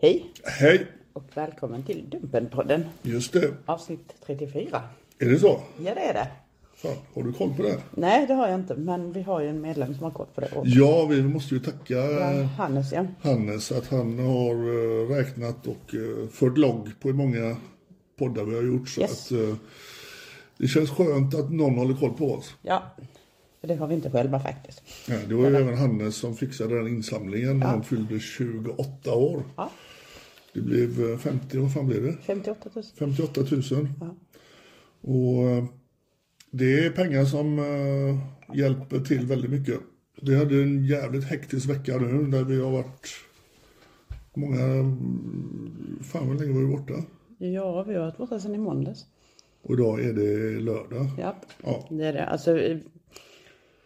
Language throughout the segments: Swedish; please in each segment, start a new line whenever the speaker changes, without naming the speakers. Hej
Hej,
och välkommen till Dumpenpodden
just det.
avsnitt 34.
Är det så?
Ja det är det.
Fan, har du koll på det? här?
Nej det har jag inte men vi har ju en medlem som har koll på det. Och
Ja, vi måste ju tacka eh,
Hannes ja.
Hannes att han har eh, räknat och eh, fört logg på hur många poddar vi har gjort. Så
Yes.
att, eh, det känns skönt att någon håller koll på oss.
Ja. För det har vi inte själva faktiskt.
Ja, det var ju även Hannes som fixade den insamlingen när han fyllde 28 år.
Ja.
Det blev eh, 50, vad fan blev det?
58 000.
58 000. Och eh, det är pengar som eh, hjälper till väldigt mycket. Vi hade en jävligt hektisk vecka nu där vi har varit många... mm, Fan vad länge var vi borta?
Ja vi har varit borta sedan i måndags.
Och idag är det lördag.
Ja.
Ja.
Det är det. Alltså, eh,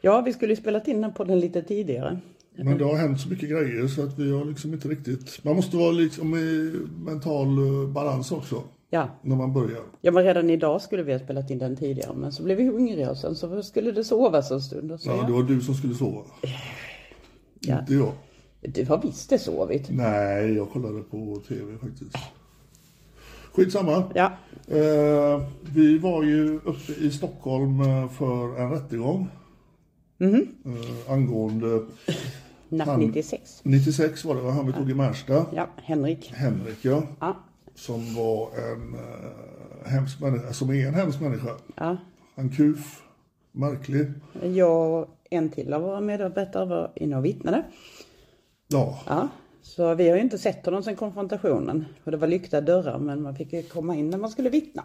ja vi skulle ju spelat in den podden lite tidigare.
Men det har hänt så mycket grejer så att vi har liksom inte riktigt... Man måste vara liksom i mental eh, balans också
Ja.
när man börjar.
Ja men redan idag skulle vi ha spelat in den tidigare men så blev vi hungriga och sen så skulle det sovas en stund. Och så,
Ja, det
ja.
var du som skulle sova.
Ja.
Inte jag.
Du har visst det sovit.
Nej, jag kollade på tv faktiskt. Skitsamma.
Ja.
Eh, vi var ju uppe i Stockholm eh, för en rättegång.
Mhm.
Eh, angående
Natt
Han-
96.
96 var det va? Han vi tog i Märsta.
Ja, Henrik.
Henrik ja.
Ja,
Som var en eh, hemsk människa. Som är en hemsk människa.
ja.
En kuf. Märklig.
Jag och en till av våra medarbetare var inne och vittnade.
Ja.
Ja, så vi har ju inte sett honom sedan konfrontationen. Och det var lyckta dörrar men man fick ju komma in när man skulle vittna.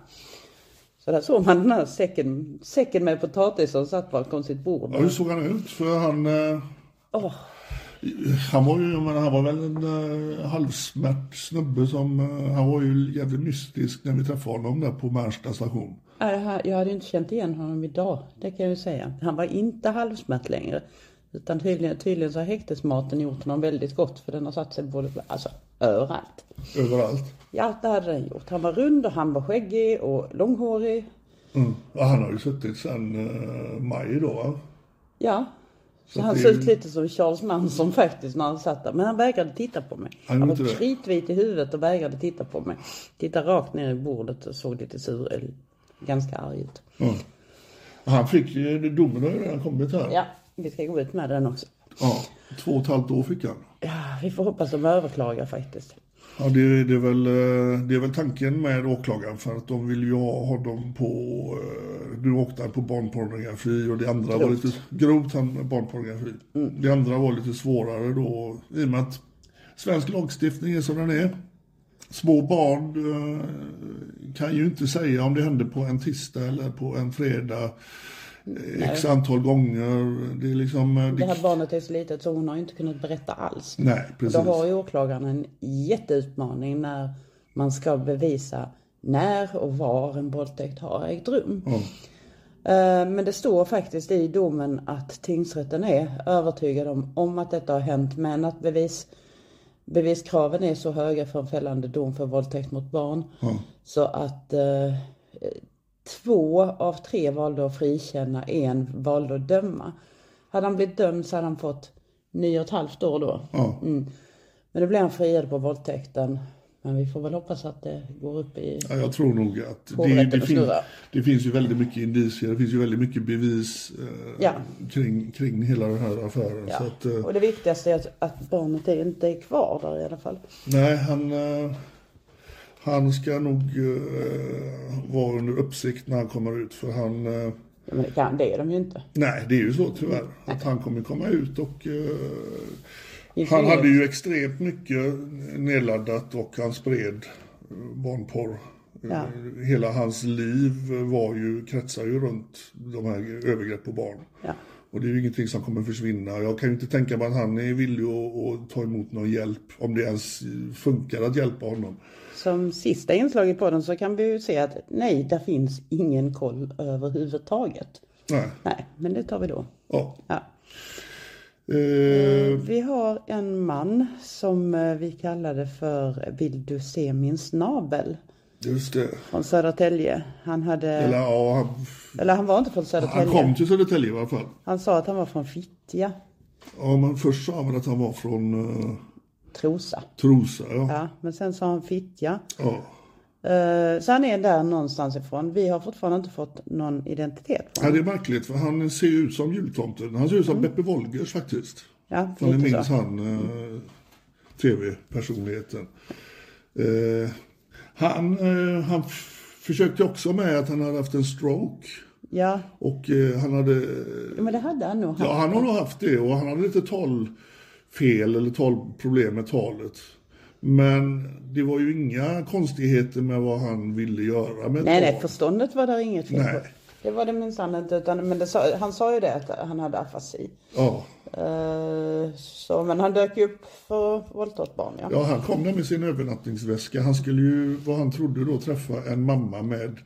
Så där såg man den här säcken, säcken med potatis som satt bakom sitt bord.
ja. Hur såg han ut? För han... Eh,
Åh,
Han var ju, jag menar, han var väl en eh, halvsmärt snubbe som, eh, han var ju jävligt mystisk när vi träffade honom där på Märsta station.
ja, jag ha- jag hade inte känt igen honom idag, det kan jag ju säga. Han var inte halvsmärt längre. Utan tydligen, tydligen så har häktesmaten gjort honom väldigt gott för den har satt sig både, alltså, överallt.
Överallt.
Ja, det hade den gjort. Han var rund och han var skäggig och långhårig.
Mm. Och han har ju suttit sedan eh, maj då va?
Ja. Så
Så
han
det-
såg ut lite som Charles Manson faktiskt när han satt där. Men han vägrade titta på mig.
Han
Han,
gjorde
var
det?
kritvit i huvudet och vägrade titta på mig. Tittade rakt ner i bordet och såg lite sur, eller ganska arg ut.
Mm. Han fick ju, domen har ju redan kommit här.
Ja, vi ska gå ut med den också.
Ja, Två och ett halvt år fick han.
Ja, vi får hoppas de överklagar faktiskt.
Ja, det, det, är väl, eh, det är väl tanken med åklagaren för att de vill ju ha honom på... eh, Nu åkte han på barnpornografi och det andra var
Grovt. Mm.
lite... Grovt han barnpornografi. Det andra var lite svårare då i och med att svensk lagstiftning är som den är. Små barn eh, kan ju inte säga om det hände på en tisdag eller på en fredag. eh, X antal gånger. Det är liksom... eh,
Det
Det,
här barnet är så litet så hon har ju inte kunnat berätta alls.
nej,
Och
precis.
Då har ju åklagaren en jätteutmaning när man ska bevisa när och var en våldtäkt har ägt rum. Eh, Men det står faktiskt i domen att tingsrätten är övertygad om, om att detta har hänt men att bevis, beviskraven är så höga för en fällande dom för våldtäkt mot barn så att eh, två av tre valde att frikänna, en valde att döma. Hade han blivit dömd så hade han fått nio och ett halvt år då.
Ja.
Men det blev han friad på våldtäkten. Men vi får väl hoppas att det går upp i...
Ja, jag tror nog att det,
Hovrätten
det,
och
finns,
snurra.
det finns ju väldigt mycket indicier, det finns ju väldigt mycket bevis eh,
Ja.
kring, kring hela den här affären. Så att, eh,
Och det viktigaste är att, att barnet är- inte är kvar där i alla fall.
nej, han, eh, han ska nog eh, vara under uppsikt när han kommer ut. För han, eh,
Ja, Men det, kan, det är de ju inte.
nej det är ju så tyvärr, att han kommer komma ut och eh,
I
Han
frihet.
hade ju extremt mycket nedladdat och han spred eh, barnporr.
Ja.
Eh, Hela hans liv var ju, kretsar ju runt de här övergrepp på barn.
Ja.
Och det är ju ingenting som kommer försvinna. Jag kan ju inte tänka mig att han är villig att, att ta emot någon hjälp. Om det ens funkar att hjälpa honom.
Som sista inslag i podden så kan vi ju se att nej, där finns ingen koll överhuvudtaget.
Nej.
Nej, men det tar vi då.
Ja.
Ja.
Eh,
Vi har en man som eh, vi kallade för Vill du se min snabel?
just det.
Från Södertälje. Han hade...
Eller
Eller,
ja, han,
han var inte från
han
Södertälje.
kom till Södertälje i alla fall.
Han sa att han var från Fittja,
Ja, men först sa han väl att han var från eh,
Trosa.
Trosa. Ja.
Ja, men sen sa han Fittja.
ja.
Eh, Så han är där någonstans ifrån. Vi har fortfarande inte fått någon identitet på
Ja,
honom.
det är märkligt för han ser ju ut som jultomten. Han ser ut som Beppe Wolgers faktiskt.
Mm. Ja,
Om ni
lite
minns
så.
han, eh, tv-personligheten. Eh, han, eh, han f- försökte också med att han hade haft en stroke.
Ja,
Och eh, han hade...
jo, men det hade han nog.
Ja, han har nog haft det och han hade lite talfel eller talproblem med talet. Men det var ju inga konstigheter med vad han ville göra med
Nej, nej,
tal.
förståndet var där inget fel på.
Nej.
Det var det minsann inte. Utan, men det sa, han sa ju det att han hade afasi.
Ja.
Eh, så, men han dök ju upp för våldtäkt barn, ja.
Ja, han kom där med sin övernattningsväska. Han skulle ju, vad han trodde då, träffa en mamma med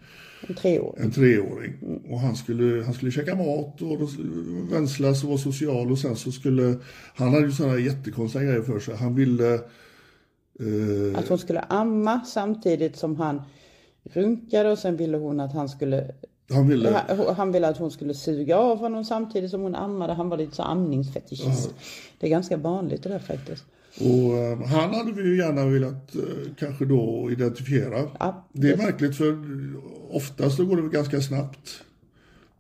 En treåring.
en treåring. Och han skulle, han skulle käka mat och vänslas och vara social och sen så skulle... Han hade ju sådana jättekonstiga grejer för sig. Han ville... Eh,
Att hon skulle amma samtidigt som han runkade och sen ville hon att han skulle
han ville...
Han, han ville att hon skulle suga av honom samtidigt som hon ammade. Han var lite så amningsfetischist.
Mm.
Det är ganska vanligt det där faktiskt.
Och eh, han hade vi ju gärna velat eh, kanske då identifiera.
Ja,
det är
det-
märkligt för oftast så går det väl ganska snabbt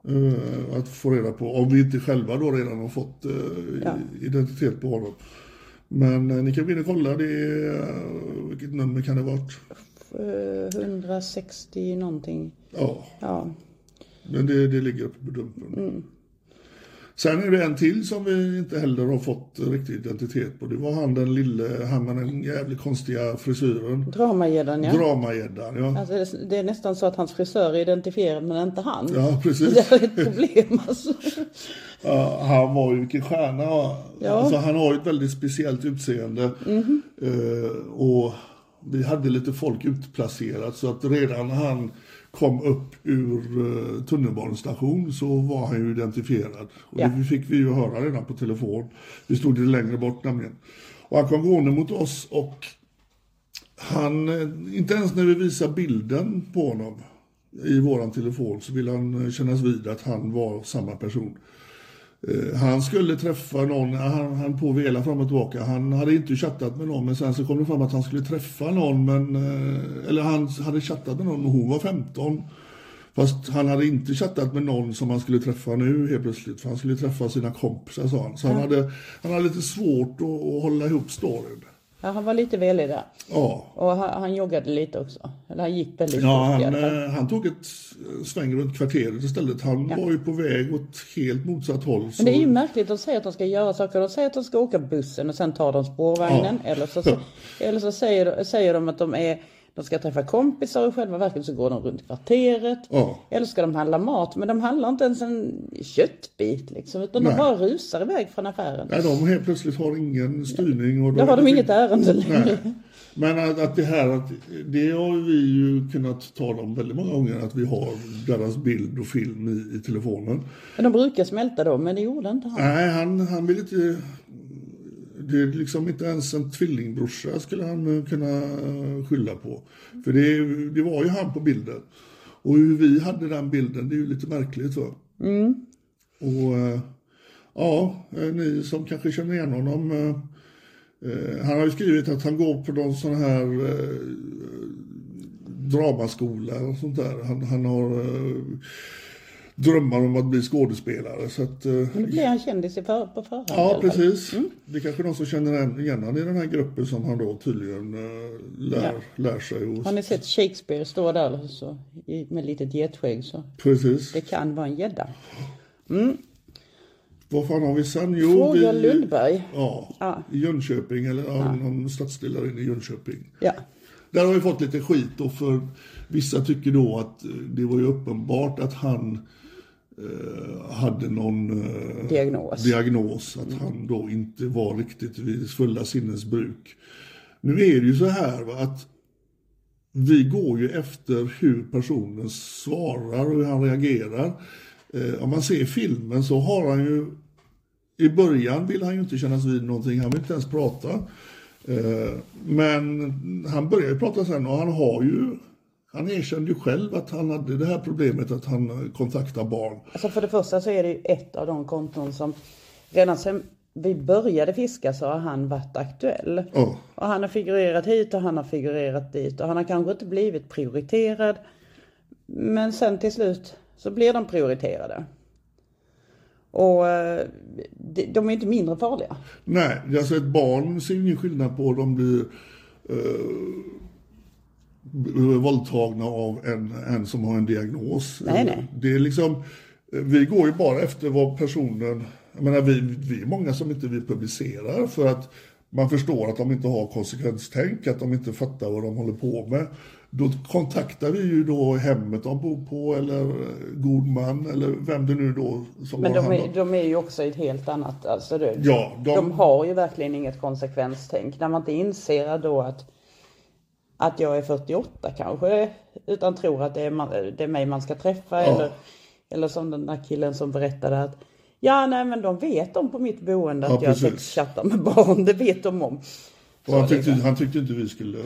eh, att få reda på, om vi inte själva då redan har fått eh,
Ja.
identitet på honom. Men eh, ni kan gå in och kolla, det är, eh, vilket nummer kan det ha varit?
Eh, 160 någonting.
Ja,
Ja.
men det, det ligger uppe på dumpen.
Mm.
Sen är det en till som vi inte heller har fått eh, riktig identitet på. Det var han den lille, han med den jävligt konstiga frisyren.
Dramagäddan ja.
Dramagäddan, ja.
Alltså, det- det är nästan så att hans frisör är identifierad men inte han.
Ja,
Det
precis.
är ett problem alltså.
Ja, han var ju vilken stjärna. va?
Ja. Mhm.
Alltså, han har ju ett väldigt speciellt utseende. Eh, och vi hade lite folk utplacerat så att redan när han kom upp ur uh, tunnelbanestation så var han ju identifierad. Och
Ja.
det fick vi ju höra redan på telefon. Vi stod lite längre bort nämligen. Och han kom gående mot oss och han, eh, inte ens när vi visar bilden på honom i våran telefon så vill han eh, kännas vid att han var samma person. Eh, Han skulle träffa någon, han, han påvelade fram och tillbaka. Han hade inte chattat med någon men sen så kom det fram att han skulle träffa någon men, eh, eller han hade chattat med någon och hon var 15. Fast han hade inte chattat med någon som han skulle träffa nu helt plötsligt för han skulle träffa sina kompisar sa han. Så han, hade, han hade lite svårt att, att hålla ihop storyn.
Ja, han var lite velig där.
Ja.
Och han, han joggade lite också. Eller han gick väldigt
Ja,
fort i
han,
alla fall.
eh, han tog ett eh, sväng runt kvarteret istället. Han var ju på väg åt helt motsatt håll. Så,
Men det är ju märkligt, de säger att de ska göra saker. De säger att de ska åka bussen och sen tar de spårvagnen. Eller, så, eller så säger, säger de att de är De ska träffa kompisar och i själva verket så går de runt kvarteret.
Ja.
Eller ska de handla mat, men de handlar inte ens en köttbit liksom, utan
Nej.
de bara rusar iväg från affären.
Nej, de helt plötsligt har ingen styrning. Och då
Då har
är
de
det-
inget ärende längre.
Nej. Men att, att det här, att, det har ju vi ju kunnat tala om väldigt många gånger, att vi har deras bild och film i, i telefonen.
Men de brukar smälta då, men det gjorde inte han.
Nej, han, han vill inte... Det är liksom inte ens en tvillingbrorsa skulle han eh, kunna eh, skylla på. För det, det var ju han på bilden. Och hur vi hade den bilden, det är ju lite märkligt va? Och eh, ja, eh, ni som kanske känner igen honom. eh, eh, Han har ju skrivit att han går på någon sån här eh, dramaskola och sånt där. Han, han har eh, drömmar om att bli skådespelare. Så att, eh,
Men då blir han kändis i för, på förhand. i alla
Ja,
fall. Mm.
precis. Det är kanske någon som känner en- igen honom i den här gruppen som han då tydligen eh, lär, lär sig. Och,
Har ni sett Shakespeare stå där så, i- med litet getskägg så
Precis.
det kan vara en gädda.
Vad fan har vi sen? Jo,
Fråga
vi,
Lundberg.
Ja,
Ja.
i Jönköping eller ja. någon stadsdel där inne i Jönköping.
Ja.
Där har vi fått lite skit då för vissa tycker då att eh, det var ju uppenbart att han eh, hade någon eh,
Diagnos.
diagnos, att han då inte var riktigt vid fulla sinnesbruk. Nu är det ju så här va, att vi går ju efter hur personen svarar och hur han reagerar. Eh, om man ser filmen så har han ju i början vill han ju inte kännas vid någonting, han vill inte ens prata. Eh, Men han börjar ju prata sen och han har ju, han erkände ju själv att han hade det här problemet att han eh, kontaktar barn.
Alltså för det första så är det ju ett av de konton som redan sen vi började fiska så har han varit aktuell.
Ja,
Och han har figurerat hit och han har figurerat dit och han har kanske inte blivit prioriterad. Men sen till slut så blir de prioriterade. Och eh, de- de är inte mindre farliga.
nej, alltså ett barn ser ingen skillnad på om de blir eh, våldtagna av en, en som har en diagnos.
Nej, nej.
Det är liksom, eh, vi går ju bara efter vad personen, jag menar vi, vi är många som inte vi publicerar för att man förstår att de inte har konsekvenstänk, att de inte fattar vad de håller på med. Då kontaktar vi ju då hemmet de bor på eller eh, god man eller vem det nu då som
Men
har
de
hand
är,
om-
de är ju också i ett helt annat... Alltså det,
Ja, de-
de... har ju verkligen inget konsekvenstänk. När man inte inser då att, att jag är 48 kanske, utan tror att det är, man, det är mig man ska träffa. Eller, eller som den där killen som berättade att Ja, nej men de vet om på mitt boende att
Ja,
jag
precis.
sexchattar med barn. Det vet de om.
Och han, tyckte, han tyckte inte vi skulle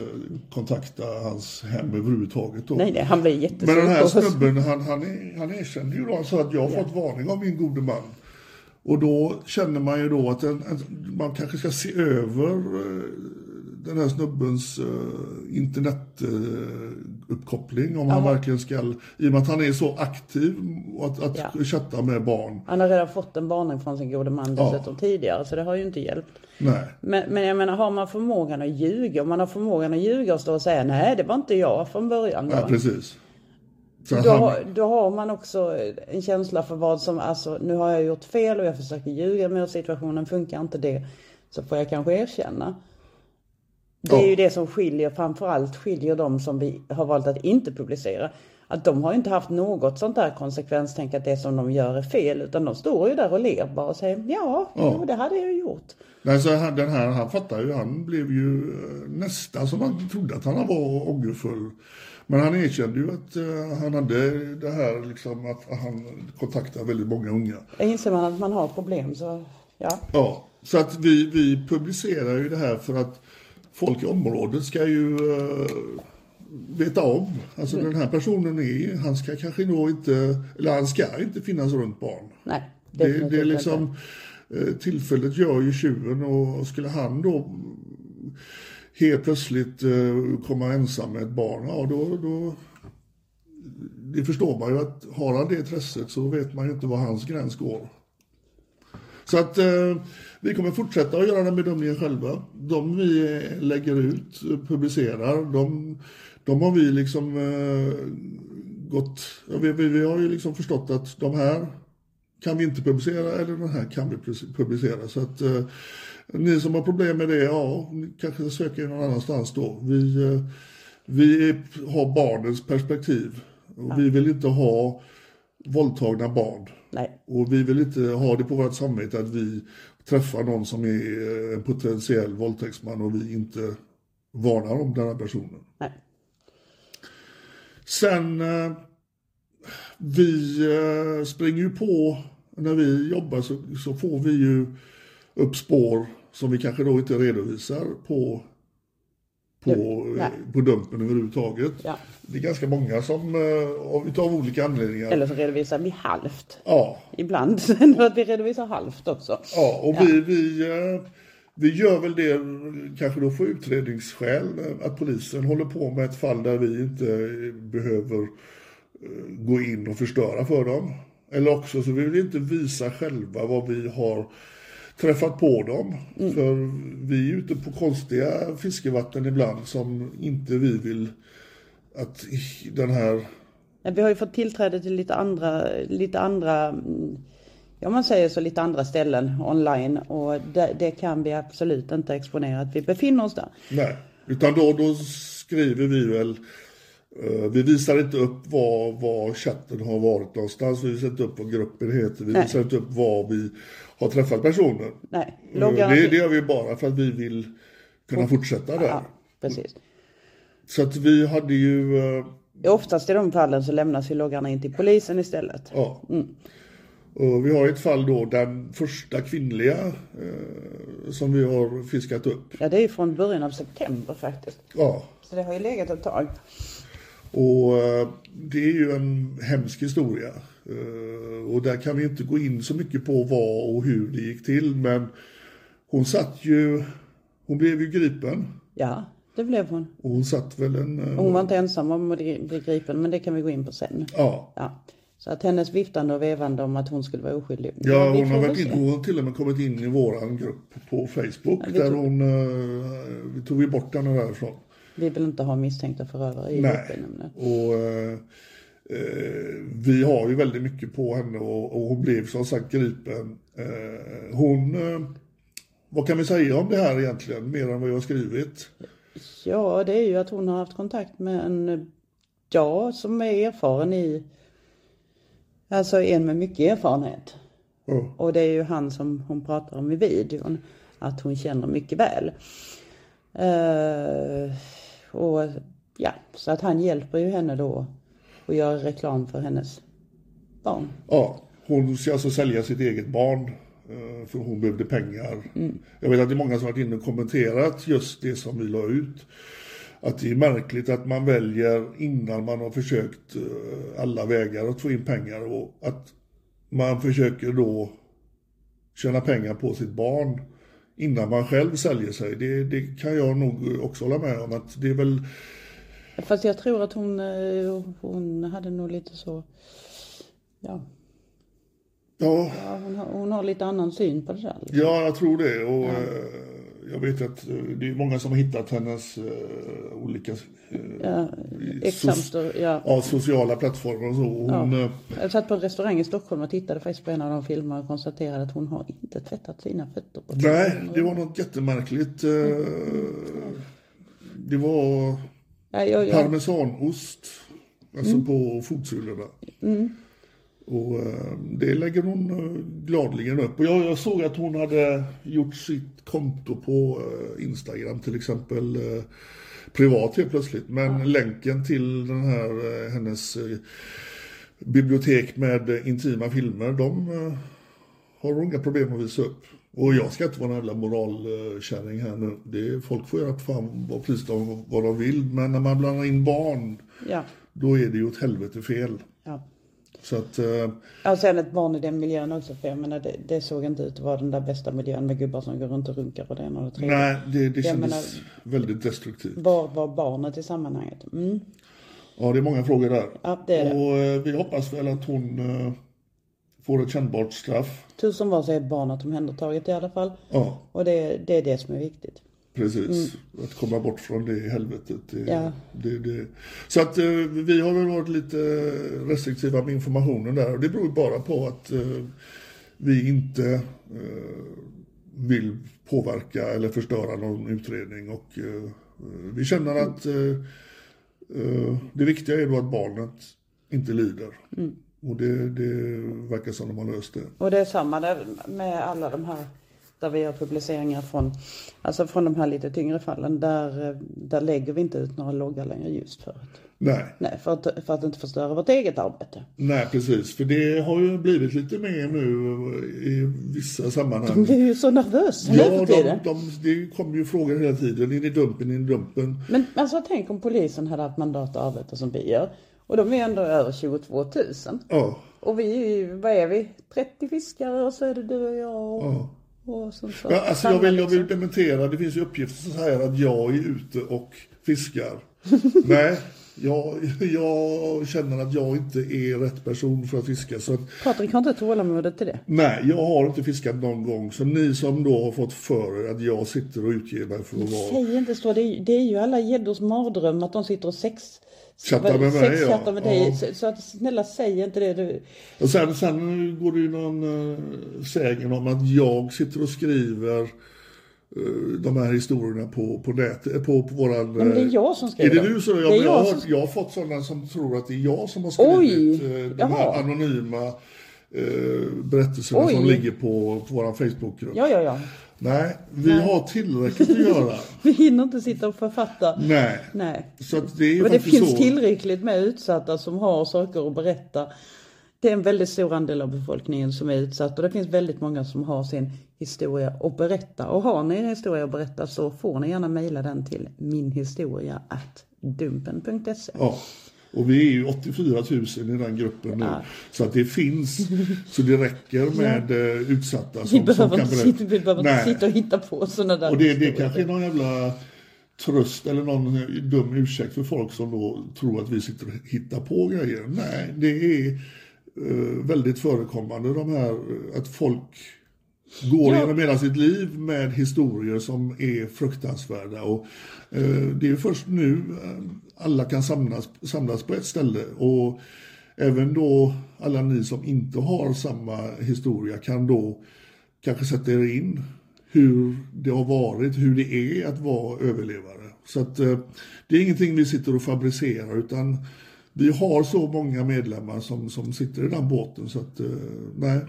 kontakta hans hem överhuvudtaget. Då.
Nej, nej, han blir
Men
jättesur
den här
på oss.
snubben, han, han, är- han erkände ju då, han sa att jag har fått varning av min gode man. Och då känner man ju då att en, en, man kanske ska se över eh, den här snubbens eh, internetuppkoppling om han verkligen ska, i och med att han är så aktiv och att, att
Ja.
chatta med barn.
Han har redan fått en varning från sin gode man dessutom tidigare, så det har ju inte hjälpt.
Nej.
Men, men jag menar, har man förmågan att ljuga, om man har förmågan att ljuga och stå och säga nej, det var inte jag från början.
Nej,
va?"
precis. Så
då,
han,
har- då har man också en känsla för vad som, alltså nu har jag gjort fel och jag försöker ljuga men situationen funkar inte det. Så får jag kanske erkänna. Det
Ja.
är ju det som skiljer, framförallt skiljer de som vi har valt att inte publicera. Att de har ju inte haft något sånt där konsekvenstänk att det som de gör är fel. Utan de står ju där och ler bara och säger ja, jo, det hade jag ju gjort.
Nej, så han, den här, han fattar ju, han blev ju eh, nästan som man trodde att han var ångerfull. Men han erkände ju att eh, han hade det här liksom att han kontaktade väldigt många unga.
Inser man att man har problem så, ja.
Ja, så att vi, vi publicerar ju det här för att folk i området ska ju eh, veta om. Alltså den här personen är, han ska kanske nog inte, eller han ska inte finnas runt barn.
Nej,
Det,
definitivt
det är
inte.
liksom, eh, tillfället gör ju tjuven och och skulle han då helt plötsligt eh, komma ensam med ett barn, ja då, då det förstår man ju att har han det intresset så vet man ju inte var hans gräns går. Så att eh, vi kommer fortsätta att göra den bedömningen själva. De vi eh, lägger ut, eh, publicerar, de, de har vi liksom eh, gått, ja, vi, vi, vi har ju liksom förstått att de här kan vi inte publicera eller den här kan vi pres- publicera. Så att eh, ni som har problem med det, ja, ni kanske söker någon annanstans då. Vi, eh, Vi är, har barnens perspektiv och vi vill inte ha våldtagna barn.
Nej.
Och vi vill inte ha det på vårt samvete att vi träffar någon som är eh, en potentiell våldtäktsman och vi inte varnar om den här personen.
Nej.
Sen, eh, vi eh, springer ju på, när vi jobbar så, så får vi ju upp spår som vi kanske då inte redovisar på, på,
Du, nej.
eh, på dumpen överhuvudtaget.
Ja.
Det är ganska många som eh, av, utav olika anledningar.
Eller så redovisar vi halvt.
Ja,
Ibland. Sen att vi redovisar halvt också.
Ja, och vi, vi, eh, vi gör väl det kanske då för utredningsskäl eh, att polisen håller på med ett fall där vi inte eh, behöver eh, gå in och förstöra för dem. Eller också så vill vi inte visa själva vad vi har träffat på dem. För vi är ute på konstiga fiskevatten ibland som inte vi vill att den här
Nej, Vi har ju fått tillträde till lite andra, lite andra, mm, ja man säger så, lite andra ställen online och det, det kan vi absolut inte exponera att vi befinner oss där.
Nej, utan då, då skriver vi väl eh, vi visar inte upp var, var chatten har varit någonstans, vi visar inte upp vad gruppen heter, vi
Nej.
visar inte upp var vi har träffat personer.
Nej,
Eh,
loggar
Det, det gör vi bara för att vi vill kunna fortsätta där.
Ja, precis.
Så att vi hade ju, eh,
Oftast i de fallen så lämnas ju loggarna in till polisen istället.
ja.
Mm.
Och vi har ett fall då, den första kvinnliga eh, som vi har fiskat upp.
Ja, det är ju från början av september faktiskt.
Ja,
Så det har ju legat ett tag.
Och eh, det är ju en hemsk historia. Eh, Och där kan vi inte gå in så mycket på vad och hur det gick till. Men hon satt ju, hon blev ju gripen.
Ja, det blev hon.
Och hon satt väl en, eh,
Hon var inte ensam om att bli gripen, men det kan vi gå in på sen.
ja.
Ja. Så att hennes viftande och vevande om att hon skulle vara oskyldig.
Ja,
vi
hon har
får
varit
väl
in,
se.
hon har till och med kommit in i våran grupp på Facebook.
Ja, vi
där
tog-
hon, eh, vi tog ju bort henne därifrån.
Vi vill inte ha misstänkta förövare i gruppen.
Och, eh, eh, vi har ju väldigt mycket på henne och, och hon blev som sagt gripen. Eh, hon, eh, vad kan vi säga om det här egentligen, mer än vad jag har skrivit?
Ja, det är ju att hon har haft kontakt med en, ja, som är erfaren i, alltså en med mycket erfarenhet.
Ja.
Och det är ju han som hon pratar om i videon, att hon känner mycket väl. Eh, och ja, så att han hjälper ju henne då och gör reklam för hennes barn.
Ja, hon ska alltså sälja sitt eget barn eh, för hon behövde pengar. Jag vet att det är många som har varit inne och kommenterat just det som vi la ut. Att det är märkligt att man väljer innan man har försökt eh, alla vägar att få in pengar och att man försöker då tjäna pengar på sitt barn innan man själv säljer sig. Det, det kan jag nog också hålla med om att det är väl
Fast jag tror att hon, eh, hon hade nog lite så, ja,
ja,
ja hon, har, hon har lite annan syn på det där. liksom.
Ja, jag tror det. Och, eh, Jag vet att eh, det är många som har hittat hennes eh, olika eh,
Ja, exempel, ja.
ja, sociala plattformar och så. Och Hon, eh,
Jag satt på en restaurang i Stockholm och tittade faktiskt på en av de filmerna och konstaterade att hon har inte tvättat sina fötter på
Nej, det var något jättemärkligt. eh,
Mm.
Det var
Nej, jag, jag,
parmesanost, alltså på fotsulorna. Och eh, det lägger hon eh, gladligen upp. Och jag, jag såg att hon hade gjort sitt konto på eh, Instagram till exempel eh, privat helt plötsligt. Men länken till den här eh, hennes eh, bibliotek med eh, intima filmer, de eh, har hon inga problem att visa upp. Och jag ska inte vara någon jävla moralkärring här nu. Det är, folk får göra fan vad, precis de, vad de vill. Men när man blandar in barn,
ja,
då är det ju åt helvete fel.
ja.
Så att, eh,
Ja, sen ett barn i den miljön också, för jag menar det, det såg inte ut att vara den där bästa miljön med gubbar som går runt och runkar och det ena och det tredje.
nej, det, det kändes
menar-
väldigt destruktivt.
Var var barnet i sammanhanget? Mm.
Ja, det är många frågor där.
Ja, det är det.
Och eh, vi hoppas väl att hon eh, får ett kännbart straff.
Tur som var så är barnet omhändertaget i alla fall.
Ja,
Och det, det är det som är viktigt.
precis. Att komma bort från det helvetet. Det,
Ja.
det, det. Så att eh, vi har väl varit lite restriktiva med informationen där. Och det beror ju bara på att eh, vi inte eh, vill påverka eller förstöra någon utredning. Och eh, vi känner att eh, Eh, Det viktiga är då att barnet inte lider. Och det, det verkar som de har löst det.
Och det är samma där med alla de här där vi gör publiceringar från, alltså från de här lite tyngre fallen. Där, eh, där lägger vi inte ut några loggar längre just för att,
Nej,
nej, för att, för att inte förstöra vårt eget arbete.
nej precis. För det har ju blivit lite mer nu eh, i vissa sammanhang.
Du är ju så nervös nu
Ja,
för tiden.
de, de, det kommer ju frågor hela tiden. Är ni dumpen? Är ni dumpen?
Men alltså tänk om polisen hade haft mandat att arbeta som vi gör. Och de är ändå över 22 000.
Ja,
Och vi är ju, vad är vi? 30 fiskare och så är det du och jag och, och sånt. Så.
Ja, Alltså jag, vill, jag vill dementera, det finns ju uppgifter som säger att jag är ute och fiskar. Nej, jag, jag känner att jag inte är rätt person för att fiska. Så att,
Patrik har inte tålamodet till det.
nej, jag har inte fiskat någon gång. Så ni som då har fått för er att jag sitter och utger mig för att vara...
Säg inte så, det är, ju- det är ju alla gäddors mardröm att de sitter och sex...
Chattar med mig, ja.
sexchattar med dig.
Ja.
Så, så att, snälla säg inte det du.
Och sen, sen går det ju någon äh, sägen om att jag sitter och skriver eh, de här historierna på, på nätet, på, på våran...
Men det är jag som
Är
skriver.
det du som...
Det
Jag,
är
jag,
jag
har,
som-
hört- jag har fått sådana som tror att det är jag som har
Oj,
skrivit eh, de här
jaha.
anonyma eh, berättelserna
Oj.
som ligger på, på vår Facebookgrupp.
Ja, ja, ja.
Nej, vi har tillräckligt att göra.
Vi hinner inte sitta och författa.
Nej.
Nej.
Så att det är ju
Och det
faktiskt
finns
så.
tillräckligt med utsatta som har saker att berätta. Det är en väldigt stor andel av befolkningen som är utsatt och det finns väldigt många som har sin historia att berätta. Och har ni en historia att berätta så får ni gärna mejla den till minhistoria@dumpen.se.
Ja. Och vi är ju 84 000 i den gruppen nu. Så att det finns, så det räcker med eh, utsatta
Vi
som, som
behöver,
kan
inte
berätta.
sitta, vi behöver inte
Nej.
sitta och hitta på sådana där
Och det, det
historier.
kanske är någon jävla tröst eller någon dum ursäkt för folk som då tror att vi sitter och hittar på grejer. Nej, det är eh, väldigt förekommande de här eh, att folk går
Ja.
genom hela sitt liv med historier som är fruktansvärda. Och, eh, det är ju först nu eh, alla kan samlas, samlas på ett ställe. Och även då alla ni som inte har samma historia kan då kanske sätta er in hur det har varit, hur det är att vara överlevare. Så att eh, det är ingenting vi sitter och fabricerar utan vi har så många medlemmar som, som sitter i den båten så att eh, nej.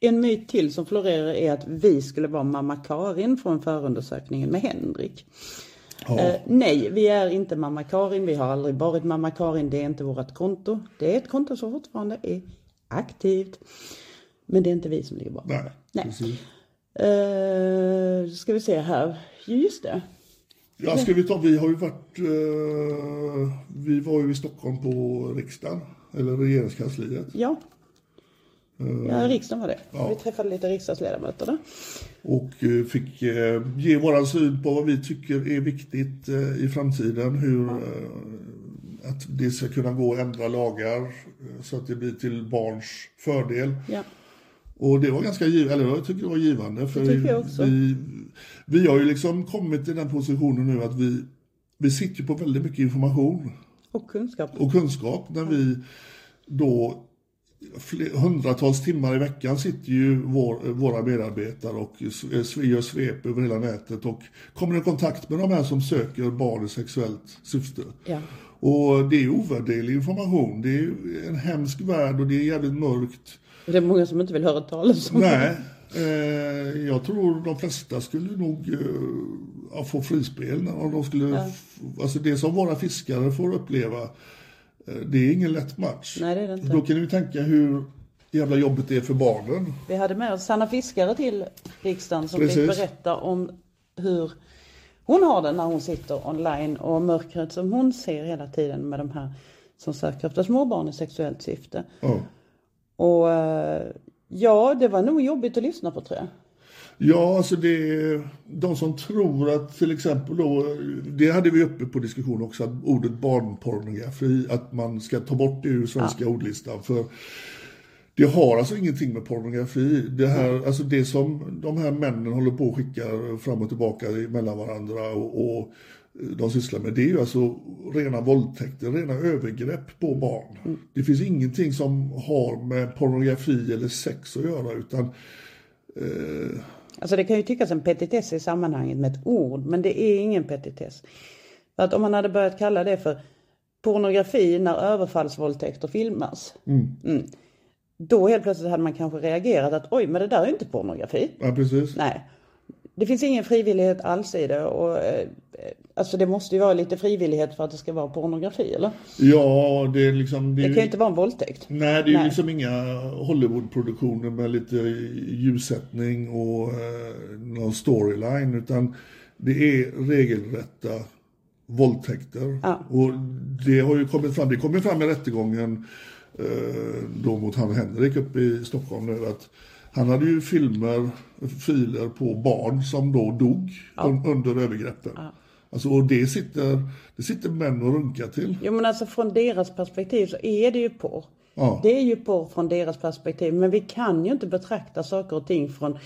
En myt till som florerar är att vi skulle vara mamma Karin från förundersökningen med Henrik. Eh, nej, vi är inte mamma Karin. Vi har aldrig varit mamma Karin. Det är inte vårt konto. Det är ett konto som fortfarande är aktivt. Men det är inte vi som ligger bakom.
nej.
Nej.
Precis.
Eh, ska vi se här. Jo, just det.
Ja, ska vi ta, vi har ju varit, eh, vi var ju i Stockholm på riksdagen, eller regeringskansliet.
Ja. Ja, riksdagen var det. Vi träffade lite riksdagsledamöter där.
och eh, fick eh, ge våran syn på vad vi tycker är viktigt eh, i framtiden. Hur eh, att det ska kunna gå att ändra lagar eh, så att det blir till barns fördel.
Ja.
Och det var ganska givande, eller jag tycker det var givande. För
Det tycker jag också.
Vi, vi har ju liksom kommit i den positionen nu att vi, vi sitter ju på väldigt mycket information
Och kunskap.
och kunskap när vi då fler, hundratals timmar i veckan sitter ju vår, våra medarbetare och s- gör svep över hela nätet och kommer i kontakt med de här som söker barn i sexuellt syfte.
Ja.
Och det är ovärderlig information. Det är ju en hemsk värld och det är jävligt mörkt.
Det är många som inte vill höra talas om
Nej, eh, jag tror de flesta skulle nog eh, ja, få frispel. När om de skulle, f- alltså det som våra fiskare får uppleva, eh, det är ingen lätt match.
Nej, det är det inte.
Då kan du tänka hur jävla jobbigt det är för barnen.
Vi hade med oss Sanna Fiskare till riksdagen som fick
Precis.
berätta om hur hon har det när hon sitter online och mörkret som hon ser hela tiden med de här som söker efter småbarn i sexuellt syfte.
Ja.
Och eh, ja, det var nog jobbigt att lyssna på tror jag.
Ja, alltså det är de som tror att till exempel då, det hade vi uppe på diskussion också, att ordet barnpornografi, att man ska ta bort det ur svenska ordlistan. För det har alltså ingenting med pornografi. Det, här, alltså det som de här männen håller på och skickar fram och tillbaka mellan varandra och, och de sysslar med, det är ju alltså rena våldtäkter, rena övergrepp på barn. Det finns ingenting som har med pornografi eller sex att göra utan
Alltså det kan ju tyckas en petitess i sammanhanget med ett ord, men det är ingen petitess. För att om man hade börjat kalla det för pornografi när överfallsvåldtäkter filmas. Mm. Då helt plötsligt hade man kanske reagerat att oj, men det där är ju inte pornografi.
Ja, precis.
Nej. Det finns ingen frivillighet alls i det. Och, eh, alltså det måste ju vara lite frivillighet för att det ska vara pornografi eller?
Ja, det är liksom... Det
Det
är
kan ju
ju,
inte vara en våldtäkt.
nej, det är ju
Nej.
liksom inga Hollywoodproduktioner med lite ljussättning och eh, någon storyline, utan det är regelrätta våldtäkter. Och det har ju kommit fram, det kom ju fram i rättegången eh, då mot han Henrik uppe i Stockholm nu att han hade ju filmer, filer på barn som då dog un, under övergreppen. Alltså, och det sitter, det sitter män och runkar till.
Jo men alltså från deras perspektiv så är det ju porr.
Ja.
Det är ju porr från deras perspektiv. Men vi kan ju inte betrakta saker och ting från,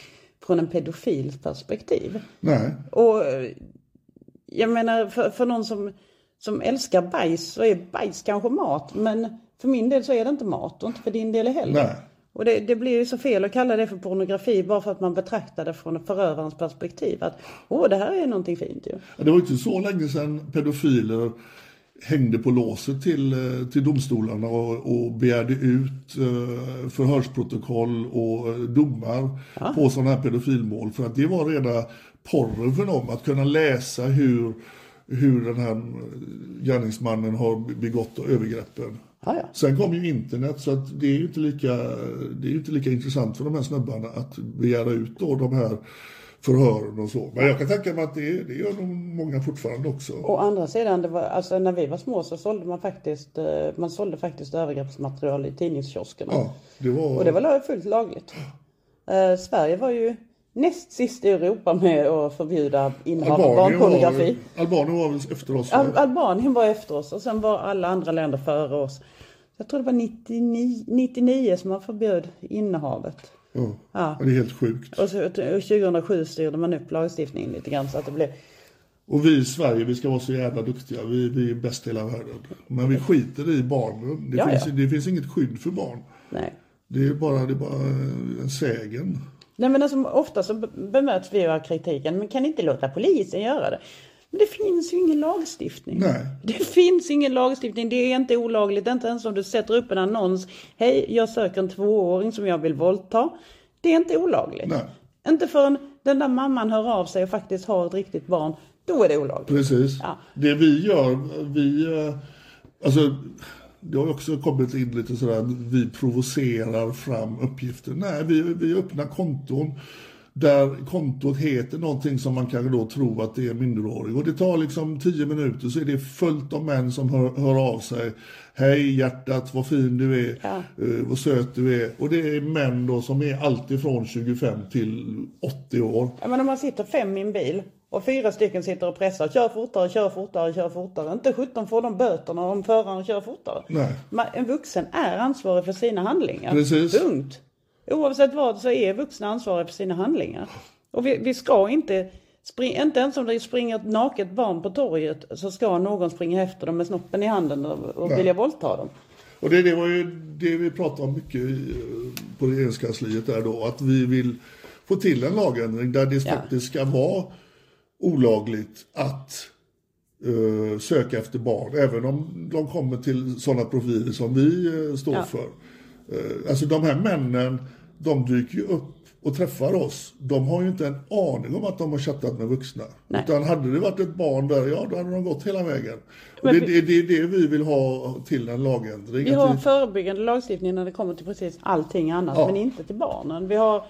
från en pedofils perspektiv.
Nej,
Och eh, jag menar för, för någon som, som älskar bajs så är bajs kanske mat. Men för min del så är det inte mat och inte för din del heller.
nej.
Och det, det blir ju så fel att kalla det för pornografi bara för att man betraktar det från förövarens perspektiv. Att åh, det här är någonting fint ju.
Ja, Det var ju inte så länge sedan pedofiler hängde på låset till, eh, till domstolarna och, och begärde ut eh, förhörsprotokoll och eh, domar på sådana här pedofilmål. För att det var rena porren för dem att kunna läsa hur, hur den här eh, gärningsmannen har begått övergreppen.
Ja, ja.
Sen kom ju internet så att det är ju inte lika, det är ju inte lika intressant för de här snubbarna att begära ut då de här förhören och så. Men jag kan tänka mig att det, det gör nog många fortfarande också.
Å andra sidan, det var, alltså, när vi var små så sålde man faktiskt, eh, man sålde faktiskt övergreppsmaterial i tidningskioskerna.
Ja, det var,
Och det var la- fullt lagligt. Eh, Sverige var ju näst sist i Europa med att förbjuda innehav av barnpornografi.
Var, Albanien var väl efter oss?
Al-
va?
Albanien var efter oss och sen var alla andra länder före oss. Jag tror det var 99, 99 som man förbjöd innehavet.
Ja. Ja. Det är helt sjukt.
Och, så, och 2007 styrde man upp lagstiftningen lite grann så att det blev...
Och vi i Sverige, vi ska vara så jävla duktiga. Vi, vi är bäst i hela världen. Men vi skiter i barnen. Det,
Ja,
finns,
ja.
det finns inget skydd för barn.
Nej.
Det är bara, det är bara eh, en sägen.
Nej men alltså, ofta så be- bemöts vi av kritiken, men kan inte låta polisen göra det? Men det finns ju ingen lagstiftning.
Nej.
Det finns ingen lagstiftning, det är inte olagligt, inte ens om du sätter upp en annons. Hej, jag söker en tvååring som jag vill våldta. Det är inte olagligt.
Nej.
Inte förrän den där mamman hör av sig och faktiskt har ett riktigt barn, då är det olagligt.
Precis.
Ja.
Det vi gör, vi... eh, Alltså, det har ju också kommit in lite sådär att vi provocerar fram uppgifter. Nej, vi, vi öppnar konton där kontot heter någonting som man kanske då tror att det är minderårig. Och det tar liksom 10 minuter så är det fullt av män som hör, hör av sig. Hej hjärtat, vad fin du är,
Ja.
eh, vad söt du är. Och det är män då som är alltifrån 25 till 80 år.
Ja, men om man sitter fem i en bil och fyra stycken sitter och pressar. Kör fortare, kör fortare, kör fortare. Inte 17 får de böterna om föraren kör fortare.
Nej.
Man, en vuxen är ansvarig för sina handlingar.
Precis.
Punkt. Oavsett vad så är vuxna ansvariga för sina handlingar. Och vi, vi ska inte, spring, inte ens om det springer ett naket barn på torget så ska någon springa efter dem med snoppen i handen och, och
Nej.
vilja våldta dem.
Och det, det var ju det vi pratade om mycket i, eh, på regeringskansliet där då, att vi vill få till en lagändring där det
Ja.
faktiskt ska vara olagligt att eh, söka efter barn, även om de kommer till sådana profiler som vi eh, står
Ja.
för. Eh, alltså de här männen, de dyker ju upp och träffar oss. De har ju inte en aning om att de har chattat med vuxna.
Nej.
Utan hade det varit ett barn där, ja då hade de gått hela vägen. Och det, det, det är det vi vill ha till en lagändring.
Vi
att
har
vi-
en förebyggande lagstiftning när det kommer till precis allting annat,
Ja.
men inte till barnen. Vi har,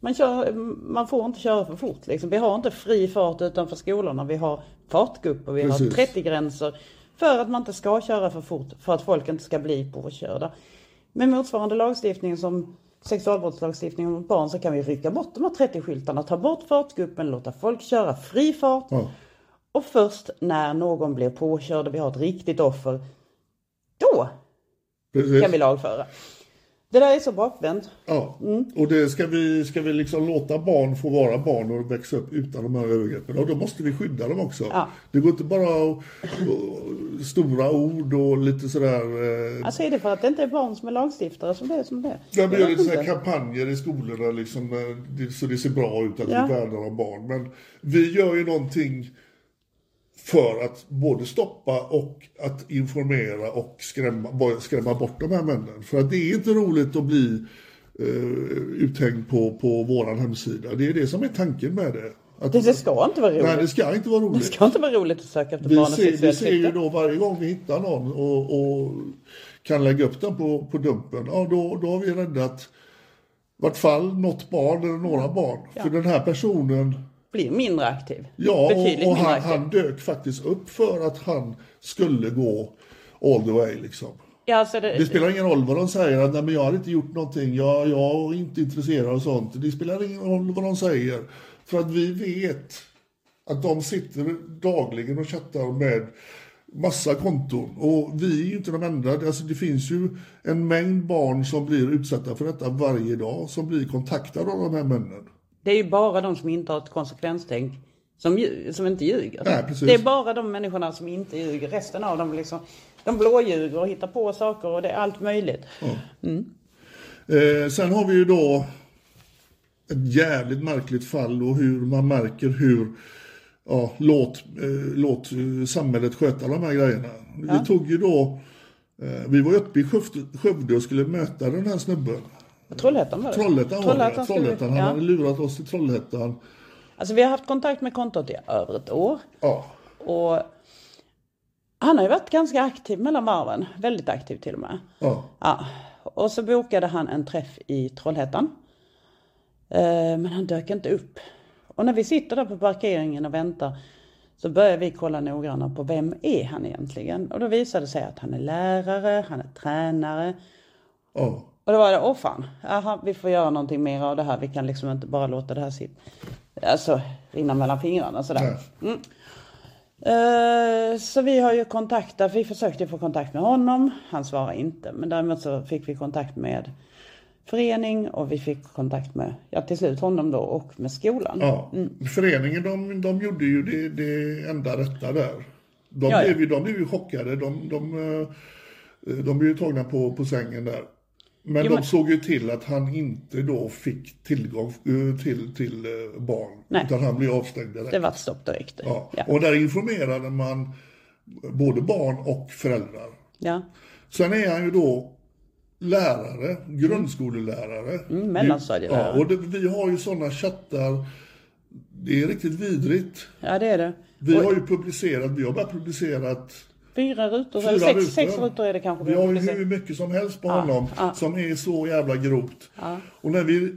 man, kör, man får inte köra för fort. Liksom. Vi har inte fri fart utanför skolorna. Vi har fartgrupper, vi
Precis.
har 30-gränser. För att man inte ska köra för fort, för att folk inte ska bli påkörda. Med motsvarande lagstiftning som sexualbrottslagstiftningen mot barn så kan vi rycka bort de här 30-skyltarna, ta bort fartgruppen, låta folk köra fri fart.
Ja.
Och först när någon blir påkörd och vi har ett riktigt offer, då
Precis.
kan vi lagföra. Det där är så bakvänt.
Ja.
Mm.
Och det ska vi, ska vi liksom låta barn få vara barn och växa upp utan de här övergreppen. Och då måste vi skydda dem också.
Ja.
Det går inte bara och, och, stora ord och lite sådär... Eh,
Alltså är det för att det inte är barn som är lagstiftare som det är som det är?
där vi gör
vet
lite sådär
inte.
kampanjer i skolorna liksom, eh, det- så det ser bra ut att
Ja.
vi värnar om barn. Men vi gör ju någonting för att både stoppa och att informera och skrämma, bara skrämma bort de här männen. För att det är inte roligt att bli eh, uthängd på, på vår hemsida. Det är det som är tanken med det. Att,
Det, det ska inte vara roligt.
Nej, det ska inte vara
Det
roligt.
ska inte vara roligt att söka efter
Vi
barn och
ser, vi
sexuellt
ser ju
syfte.
då varje gång vi hittar någon och, och kan lägga upp den på, på dumpen, ja då, då har vi räddat i vart fall något barn eller några barn. För den här personen,
Blir mindre aktiv.
ja,
Betydligt
och, och
mindre
han,
aktiv.
han dök faktiskt upp för att han skulle gå all the way liksom.
ja, alltså det,
Det spelar ingen roll vad de säger, att, nej men jag har inte gjort någonting, jag, jag är inte intresserad av sånt. Det spelar ingen roll vad de säger, för att vi vet att de sitter dagligen och chattar med massa konton. Och vi är ju inte de enda. Alltså det finns ju en mängd barn som blir utsatta för detta varje dag, som blir kontaktade av de här männen.
det är ju bara de som inte har ett konsekvenstänk som, lju- som inte ljuger.
Nej, precis.
det är bara de människorna som inte ljuger. Resten av dem liksom, de blåljuger och hittar på saker och det är allt möjligt.
Eh, sen har vi ju då ett jävligt märkligt fall och hur man märker hur ja, låt, eh, låt eh, samhället sköta de här grejerna. Vi tog ju då, eh, vi var ju uppe i Skövde- Skövde och skulle möta den här snubben.
Trollhättan var det.
Trollhättan var det,
Trollhättan skulle vi-
Trollhättan. Han hade
ja.
lurat oss till Trollhättan.
Alltså vi har haft kontakt med kontot i över ett år.
Ja,
Och han har ju varit ganska aktiv mellan varven. Väldigt aktiv till och med.
ja.
Ja. Och så bokade han en träff i Trollhättan. Eh, Men han dök inte upp. Och när vi sitter där på parkeringen och väntar så börjar vi kolla noggrannare på vem är han egentligen? Och då visade det sig att han är lärare, han är tränare.
ja.
Och då var det, åh fan, aha, vi får göra någonting mer av det här. Vi kan liksom inte bara låta det här sitta, alltså rinna mellan fingrarna sådär.
Nej.
Eh, Så vi har ju kontaktat, vi försökte få kontakt med honom, han svarade inte. Men däremot så fick vi kontakt med förening och vi fick kontakt med, ja till slut honom då och med skolan.
Ja, föreningen de, de gjorde ju det, det enda rätta där. De,
Ja, ja.
Blev, ju, de blev ju chockade, de, de, eh, de blev ju tagna på, på sängen där. Men
Jo,
de
men-
såg ju till att han inte då fick tillgång eh, till, till eh, barn.
Nej.
Utan han blev avstängd direkt.
Det var ett stopp direkt.
ja.
Ja.
Och där informerade man både barn och föräldrar.
Ja.
Sen är han ju då lärare, grundskolelärare. Mm,
mellanstadielärare.
Ja, och det, vi har ju sådana chattar. Det är riktigt vidrigt.
ja, det är det.
Vi
Och
har ju publicerat, vi har bara publicerat
Fyra rutor,
fyra
eller sex
rutor.
rutor. sex rutor är det kanske.
Vi har ju
publicerat.
hur mycket som helst på honom som är så jävla grovt. Och när vi eh,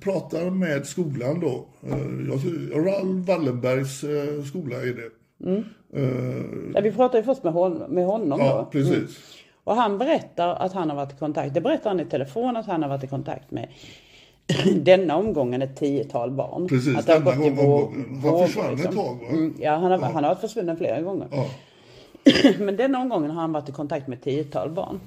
pratar med skolan då, eh, jag tror- Raoul Wallenbergs eh, skola är det.
Mm.
Eh,
Ja, vi pratade ju först med honom, med honom
Ja,
då.
precis.
Och han berättar att han har varit i kontakt, det berättar han i telefon att han har varit i kontakt med denna omgången ett tiotal barn.
Precis,
att det har
denna
gått i
gång-
vå-
omgången. Han
vågor,
försvann ett tag, va?
Mm, ja, han har, han har varit försvunnen flera gånger.
Ja,
Men denna omgången har han varit i kontakt med ett tiotal barn.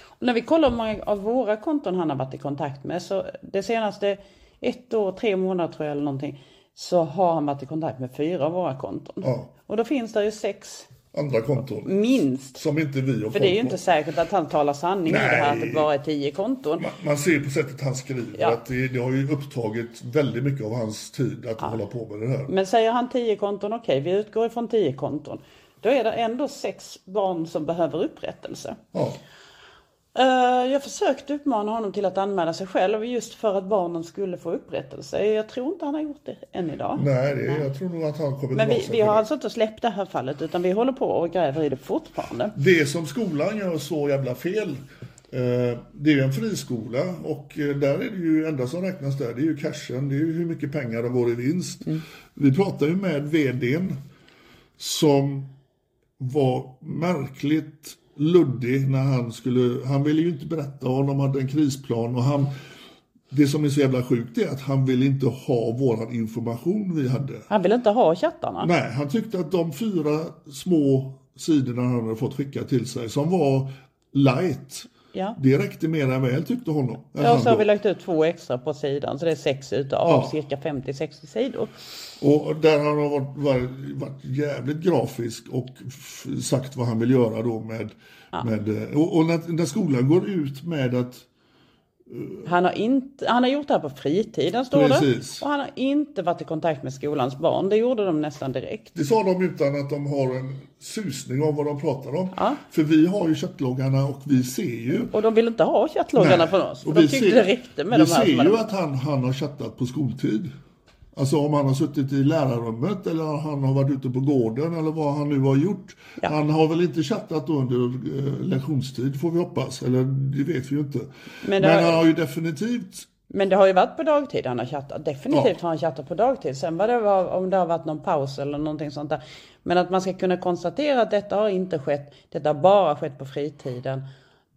Och när vi kollar hur många av våra konton han har varit i kontakt med så det senaste ett år, tre månader tror jag eller någonting så har han varit i kontakt med fyra av våra konton.
Ja.
Och då finns det ju sex,
andra konton.
minst
Som inte vi har
för
koll
det är ju
på.
inte säkert att han talar sanning i det här att det
Nej.
bara är tio konton.
Man, man ser ju på sättet han skriver
Ja.
att det, det har ju upptagit väldigt mycket av hans tid att hålla på med det här.
Men säger han tio konton, okej vi utgår ifrån tio konton. Då är det ändå sex barn som behöver upprättelse.
Ja,
Eh, Jag försökte uppmana honom till att anmäla sig själv just för att barnen skulle få upprättelse. Jag tror inte han har gjort det än idag.
nej, det, jag tror nog att han kommer
Men
dra
vi,
sig
vi
för
har
det.
alltså inte släppt det här fallet utan vi håller på och gräver i det fortfarande.
Det som skolan gör så jävla fel, eh, det är ju en friskola och eh, där är det ju enda som räknas där, det är ju cashen, det är ju hur mycket pengar de går i vinst. Vi pratade ju med vdn som var märkligt luddig när han skulle, han ville ju inte berätta om de hade en krisplan och han, det som är så jävla sjukt är att han ville inte ha våran information vi hade.
Han vill inte ha chattarna.
Nej, han tyckte att de fyra små sidorna han hade fått skicka till sig, som var light,
Ja.
det räckte mer än väl tyckte honom.
Ja,
Han
så har
då.
vi lagt ut två extra på sidan så det är sex utav
Ja.
cirka 50-60 sidor.
Och där han har varit, varit, varit jävligt grafisk och f- sagt vad han vill göra då med... med eh, och och när, när skolan går ut med att
Han har, inte, han har gjort det här på fritiden står
Precis.
det. Och han har inte varit i kontakt med skolans barn. Det gjorde de nästan direkt.
Det sa de utan att de har en susning om vad de pratar om. För vi har ju köttloggarna och vi ser ju.
Och de ville inte ha chattloggarna
Nej.
från oss. För
Och
de
vi
tyckte
ser-
det räckte med
Vi
de här. som
ser
hade-
ju att han, han har chattat på skoltid. Alltså om han har suttit i lärarrummet eller han har varit ute på gården eller vad han nu har gjort. Han har väl inte chattat under eh, lektionstid får vi hoppas. Eller det vet vi ju inte. Men,
Men det har-
han har ju definitivt
Men det har ju varit på dagtid han har chattat. Definitivt
Ja.
har han chattat på dagtid. Sen var det var, om det har varit någon paus eller någonting sånt där. Men att man ska kunna konstatera att detta har inte skett. Detta har bara skett på fritiden.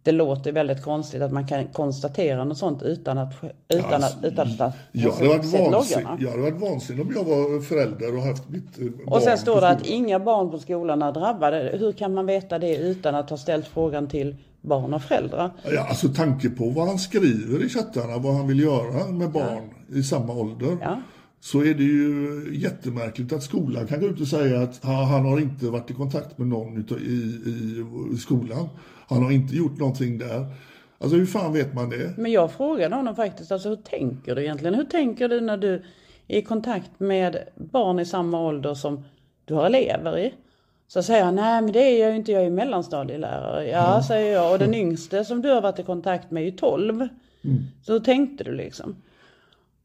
Det låter väldigt konstigt att man kan konstatera något sånt utan att utan
Alltså,
att, utan att, att
Jag hade, varit
sett
vansin,
loggarna.
jag hade varit vansinnig om jag var förälder och haft mitt eh, barn
Och sen
på
står det att
skolan.
inga barn på skolan är drabbade. Hur kan man veta det utan att ha ställt frågan till barn och föräldrar?
Ja, alltså tanke på vad han skriver i chattarna, vad han vill göra med barn i samma ålder.
Ja.
Så är det ju jättemärkligt att skolan kan gå ut och säga att ha- han har inte varit i kontakt med någon utav- i, i, i skolan. Han har inte gjort någonting där. Alltså hur fan vet man det?
Men jag frågade honom faktiskt, alltså hur tänker du egentligen? Hur tänker du när du är i kontakt med barn i samma ålder som du har elever i? Så säger han, nej men det är jag ju inte, jag är gymnasielärare. Ja,
Mm.
säger jag, och den yngste som du har varit i kontakt med är ju 12.
Mm.
Så hur tänkte du liksom?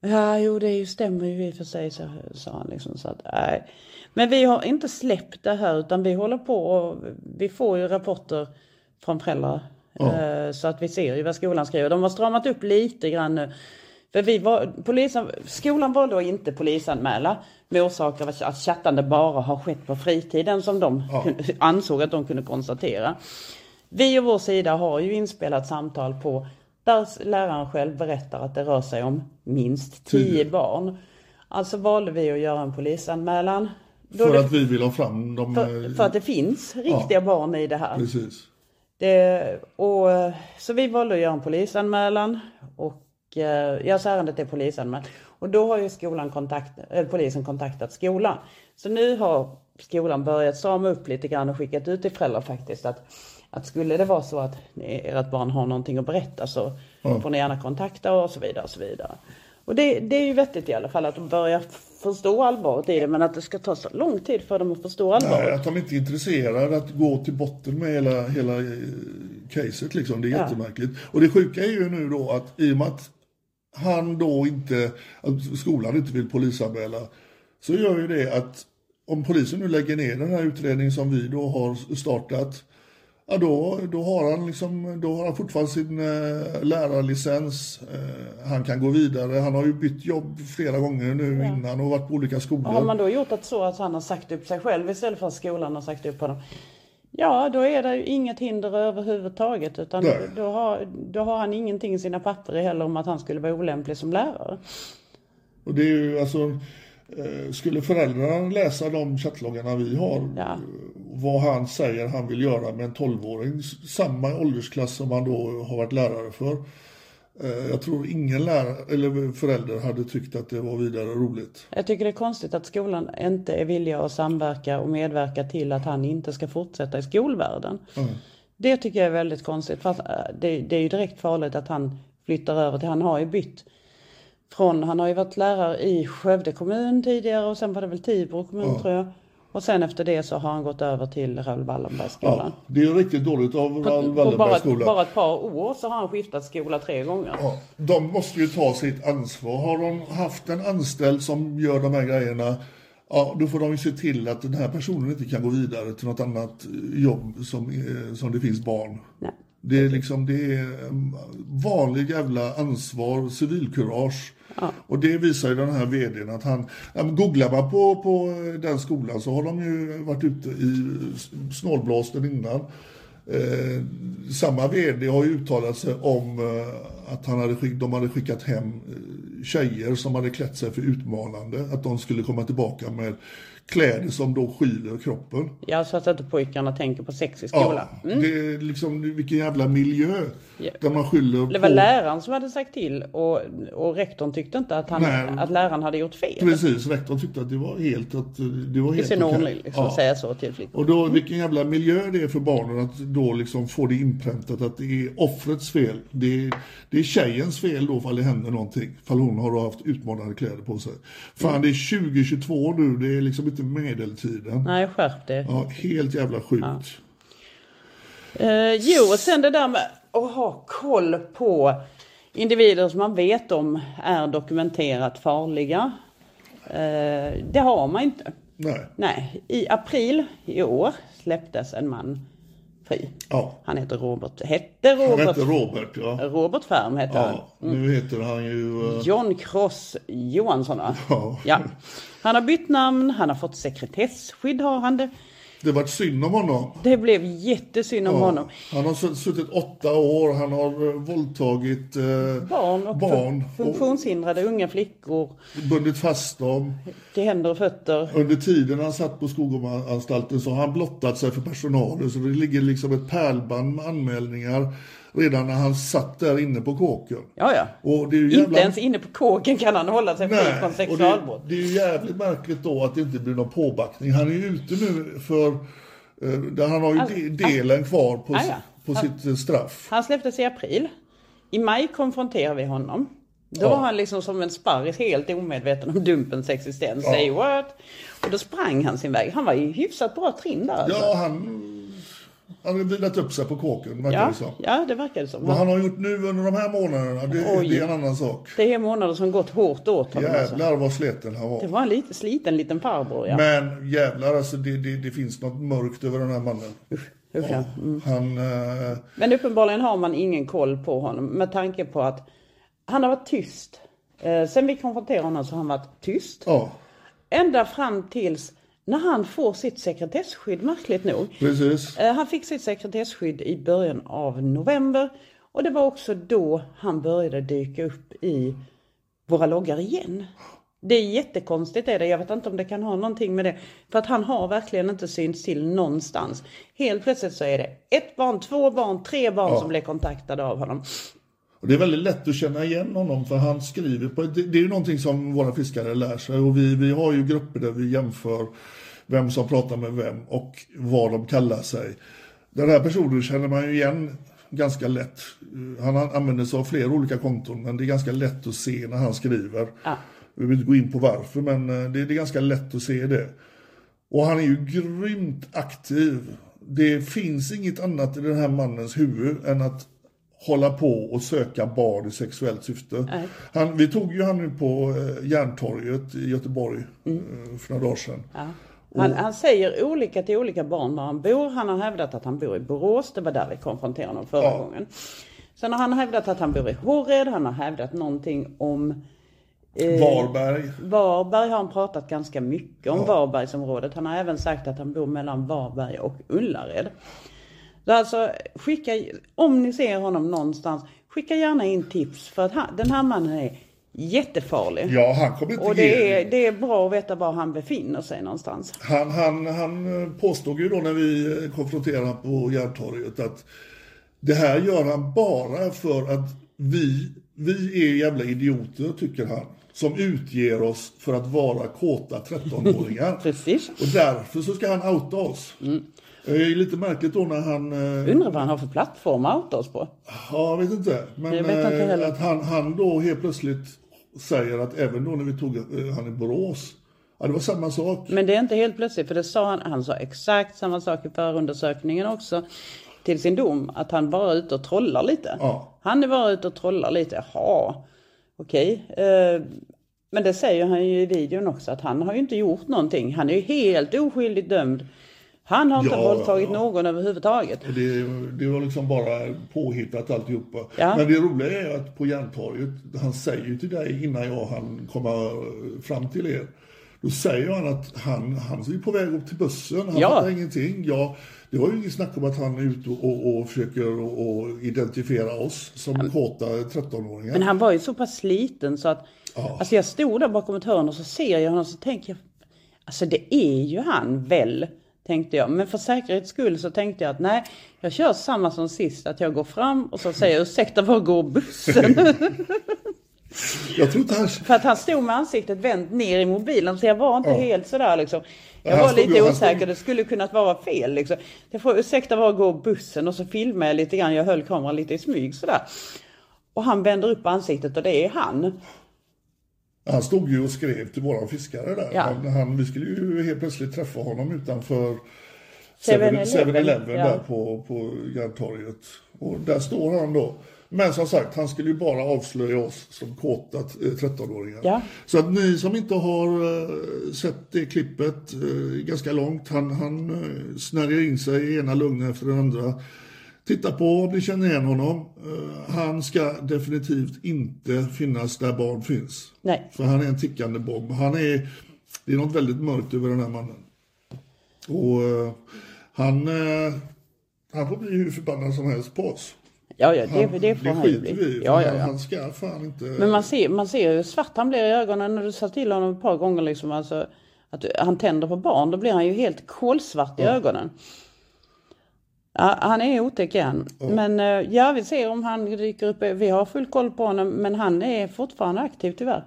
Ja, jo det är ju, stämmer ju i och för sig, så, sa han liksom. Så att, nej. Men vi har inte släppt det här utan vi håller på och vi får ju rapporter från föräldrar. eh, Så att vi ser ju vad skolan skriver. De har stramat upp lite grann nu. För vi var, polisen, skolan valde att inte polisanmäla med orsak av att chattande bara har skett på fritiden som de kunde, ansåg att de kunde konstatera. Vi och vår sida har ju inspelat samtal på där läraren själv berättar att det rör sig om minst tio barn. Alltså valde vi att göra en polisanmälan. Då
För
det,
att vi vill ha fram dem.
för,
eh,
för att det finns riktiga barn i det här.
Precis.
Det, och, eh, så vi valde att göra en polisanmälan. Och, eh, ja, så ärendet är polisanmält. Och då har ju skolan kontakt, eh, polisen kontaktat skolan. Så nu har skolan börjat strama upp lite grann och skickat ut till föräldrar faktiskt att, att skulle det vara så att ni- ert barn har någonting att berätta så får ni gärna kontakta och så vidare. Och, så vidare. och det, det är ju vettigt i alla fall att de börjar förstå allvaret i det men att det ska ta så lång tid för dem att förstå allvaret.
Nej, att de inte är intresserade att gå till botten med hela, hela eh, caset liksom. Det är jättemärkligt. Och det sjuka är ju nu då att i och med att han då inte, att skolan inte vill polisanmäla, så gör ju det att om polisen nu lägger ner den här utredningen som vi då har startat, ja då, då, har, han liksom, då har han fortfarande sin eh, lärarlicens, eh, han kan gå vidare, han har ju bytt jobb flera gånger nu innan och varit på olika skolor.
Har man då gjort att så att han har sagt upp sig själv istället för att skolan har sagt upp honom? Ja, då är det ju inget hinder överhuvudtaget utan
Nej.
då har, då har han ingenting i sina papper heller om att han skulle vara olämplig som lärare.
Och det är ju alltså, eh, skulle föräldrarna läsa de chattloggarna vi har,
Ja.
vad han säger han vill göra med en 12-åring, s- samma åldersklass som han då har varit lärare för. Eh, Jag tror ingen lärare, eller förälder hade tyckt att det var vidare roligt.
Jag tycker det är konstigt att skolan inte är villig att samverka och medverka till att han inte ska fortsätta i skolvärlden.
Mm.
Det tycker jag är väldigt konstigt. Fast eh, det, det är ju direkt farligt att han flyttar över till, han har ju bytt från, han har ju varit lärare i Skövde kommun tidigare och sen var det väl Tibro kommun tror jag. Och sen efter det så har han gått över till Raoul Wallenbergsskolan.
Ja, det är ju riktigt dåligt av Raoul
på bara, ett-
Wallenbergs
bara ett par år så har han skiftat skola tre gånger.
Ja, de måste ju ta sitt ansvar. Har de haft en anställd som gör de här grejerna, ja, då får de ju se till att den här personen inte kan gå vidare till något annat eh, jobb som, eh, som det finns barn.
Nej.
Det är liksom det är mm, vanlig jävla ansvar, civilkurage. Och det visar ju den här vdn att han, ja, men googlar man på, på den skolan så har de ju varit ute i snålblåsten innan. Eh, samma vd har ju uttalat sig om eh, att han hade skick, de hade skickat hem eh, tjejer som hade klätt sig för utmanande. Att de skulle komma tillbaka med kläder som då skyler kroppen.
Ja, så att inte pojkarna tänker på sex i skolan.
Det är liksom vilken jävla miljö
Mm. Ja.
där man skyller
Det var
på...
läraren som hade sagt till och, och rektorn tyckte inte att, han,
Nej.
att läraren hade gjort fel.
Precis, rektorn tyckte att det var helt att eh, det var
I
helt
sin
okej.
ordning liksom,
Ja.
säga så till flickan.
Och då vilken jävla miljö det är för barnen att då liksom få det inpräntat att det är offrets fel. Det är, det är tjejens fel då fall det händer någonting. Fall hon har då haft utmanande kläder på sig. Fan det är 2022 nu, det är liksom inte medeltiden.
Nej, skärp dig.
Ja, helt jävla sjukt.
Eh, jo, och sen det där med att ha koll på individer som man vet om är dokumenterat farliga. Eh, det har man inte.
Nej,
Nej, i april i år släpptes en man fri.
ja.
Han heter Robert, hette
Han
Robert,
hette Robert ja.
Robert Färm hette han.
ja. Nu heter han ju... eh,
John Cross Johansson va?
Ja.
ja. Han har bytt namn, han har fått sekretesskydd har han det.
Det vart synd om honom.
Det blev jättesynd om honom.
Han har sutt- suttit åtta år, han har eh, våldtagit eh,
Barn och
barn
fun- funktionshindrade unga flickor.
och bundit fast dem.
till händer och fötter.
Under tiden han satt på Skogomanstalten så har han blottat sig för personalen så det ligger liksom ett pärlband med anmälningar redan när han satt där inne på kåken.
Ja, ja.
Och det är ju
Inte
jävla...
ens inne på kåken kan han hålla sig fri
Nej,
från
och
sexualbrott.
Det, det är ju jävligt märkligt då att det inte blir någon påbackning. Han är ju ute nu för... eh, Där han har ju de- delen kvar på,
Ah,
s-
Alltså, ja.
på sitt eh, straff.
Han släpptes i april. I maj konfronterar vi honom. Då var han liksom som en sparris helt omedveten om Dumpens existens. Say what? Och då sprang han sin väg. Han var i hyfsat bra trim där alltså.
Ja, han, han har vilat upp sig på kåken, verkar det som.
ja, ja, det verkar det som.
Vad
Han-
han har gjort nu under de här månaderna, det,
Oj.
det är en annan sak.
Det är månader som gått hårt åt honom. Alltså.
Jävlar vad sleten han var.
Det var en lite sliten liten farbror ja.
Men jävlar, alltså, det, det, det finns något mörkt över den här mannen.
Usch, Mm. ja.
Han... Eh,
Men uppenbarligen har man ingen koll på honom med tanke på att han har varit tyst. Eh, sen vi konfronterade honom så har han varit tyst.
ja,
Ända fram tills när han får sitt sekretesskydd, märkligt nog.
precis.
Eh, han fick sitt sekretesskydd i början av november. Och det var också då han började dyka upp i våra loggar igen. Det är jättekonstigt är det. Jag vet inte om det kan ha någonting med det. För att han har verkligen inte synts till någonstans. Helt plötsligt så är det ett barn, två barn, tre barn som blir kontaktade av honom.
Och det är väldigt lätt att känna igen honom för han skriver på... Det, det är ju någonting som våra fiskare lär sig och vi, vi har ju grupper där vi jämför vem som pratar med vem och vad de kallar sig. Den här personen känner man ju igen ganska lätt. Eh, Han an- använder sig av flera olika konton men det är ganska lätt att se när han skriver.
Ja.
Vi vill inte gå in på varför men eh, det, det är ganska lätt att se det. Och han är ju grymt aktiv. Det finns inget annat i den här mannens huvud än att hålla på och söka barn i sexuellt syfte. Han, vi tog ju han nu på eh, Järntorget i Göteborg
Mm.
eh, för några dagar sedan.
Han, han säger olika till olika barn var han bor. Han har hävdat att han bor i Borås. Det var där vi konfronterade honom förra
Ja.
gången. Sen har han hävdat att han bor i Horred. Han har hävdat någonting om
Varberg.
Varberg. Har han pratat ganska mycket om Varbergsområdet. Han har även sagt att han bor mellan Varberg och Ullared. Så alltså, skicka, om ni ser honom någonstans, skicka gärna in tips. För att han, den här mannen är jättefarlig.
Ja, han kommer inte
Och
ge
det är, det är bra att veta var han befinner sig någonstans.
Han, han, han eh, påstod ju då när vi eh, konfronterade honom på Järntorget att det här gör han bara för att vi, vi är jävla idioter, tycker han. Som utger oss för att vara kåta 13-åringar.
Precis. Mm.
Och därför så ska han outa oss. Det är lite märkligt då när han... eh,
Undrar vad han har för plattform att outa oss på.
Ja, jag vet inte. Men
Jag vet inte
eh,
heller.
att han, han då helt plötsligt säger att även då när vi tog eh, han i Borås, ja det var samma sak.
Men det är inte helt plötsligt för det sa han, han sa exakt samma sak i förundersökningen också. Till sin dom, att han bara är ute och trollar lite.
Ja.
Han är bara ute och trollar lite, jaha. Okej. Eh, men det säger han ju i videon också att han har ju inte gjort någonting. Han är ju helt oskyldigt dömd. Han har inte
Ja,
våldtagit
ja.
någon överhuvudtaget.
Och Det, det var liksom bara påhittat alltihopa.
Ja.
Men det roliga är att på Järntorget, han säger ju till dig innan jag han komma fram till er. Då säger han att han, han är på väg upp till bussen, han
Ja.
fattar ingenting. Ja, det var ju inget snack om att han är ute och, och, och försöker och, och identifiera oss som kåta 13-åringar.
Men han var ju så pass sliten så att, alltså jag stod där bakom ett hörn och så ser jag honom och så tänker jag, Alltså det är ju han väl, tänkte jag. Men för säkerhets skull så tänkte jag att nej, jag kör samma som sist. Att jag går fram och så säger jag ursäkta var går bussen?
Jag tror inte han...
för att han stod med ansiktet vänt ner i mobilen så jag var inte
Ja.
helt sådär liksom. Jag
Han
var
stod-
lite
han stod-
osäker, det skulle kunnat vara fel liksom. Jag får ursäkta var går bussen? Och så filmade jag lite grann, jag höll kameran lite i smyg sådär. Och han vänder upp ansiktet och det är han.
Han stod ju och skrev till våran fiskare där.
Ja.
Han, han, vi skulle ju helt plötsligt träffa honom utanför
7-Eleven,
7-Eleven
ja.
där på, på Grandtorget. Och där står han då. Men som sagt, han skulle ju bara avslöja oss som kåta t- eh, 13-åringar.
Ja.
Så att ni som inte har eh, sett det klippet eh, ganska långt, han, han eh, snärjer in sig i ena lugnen efter den andra. Titta på om ni känner igen honom. Eh, han ska definitivt inte finnas där barn finns.
Nej.
För han är en tickande bomb. Han är, det är något väldigt mörkt över den här mannen. Och eh, han, eh, han får bli hur förbannad som helst på oss.
Ja, ja,
Han,
det, det får han ju
skiter vi
bli.
i, för
Ja, ja,
han-
ja.
Han ska fan inte...
Men man ser, man ser hur svart han blir i ögonen när du sa till honom ett par gånger liksom, alltså, att han tänder på barn. Då blir han ju helt kolsvart i ögonen. Ja, han är otäck igen. Men eh, ja, vi ser om han dyker upp. Vi har full koll på honom, men han är fortfarande aktiv tyvärr.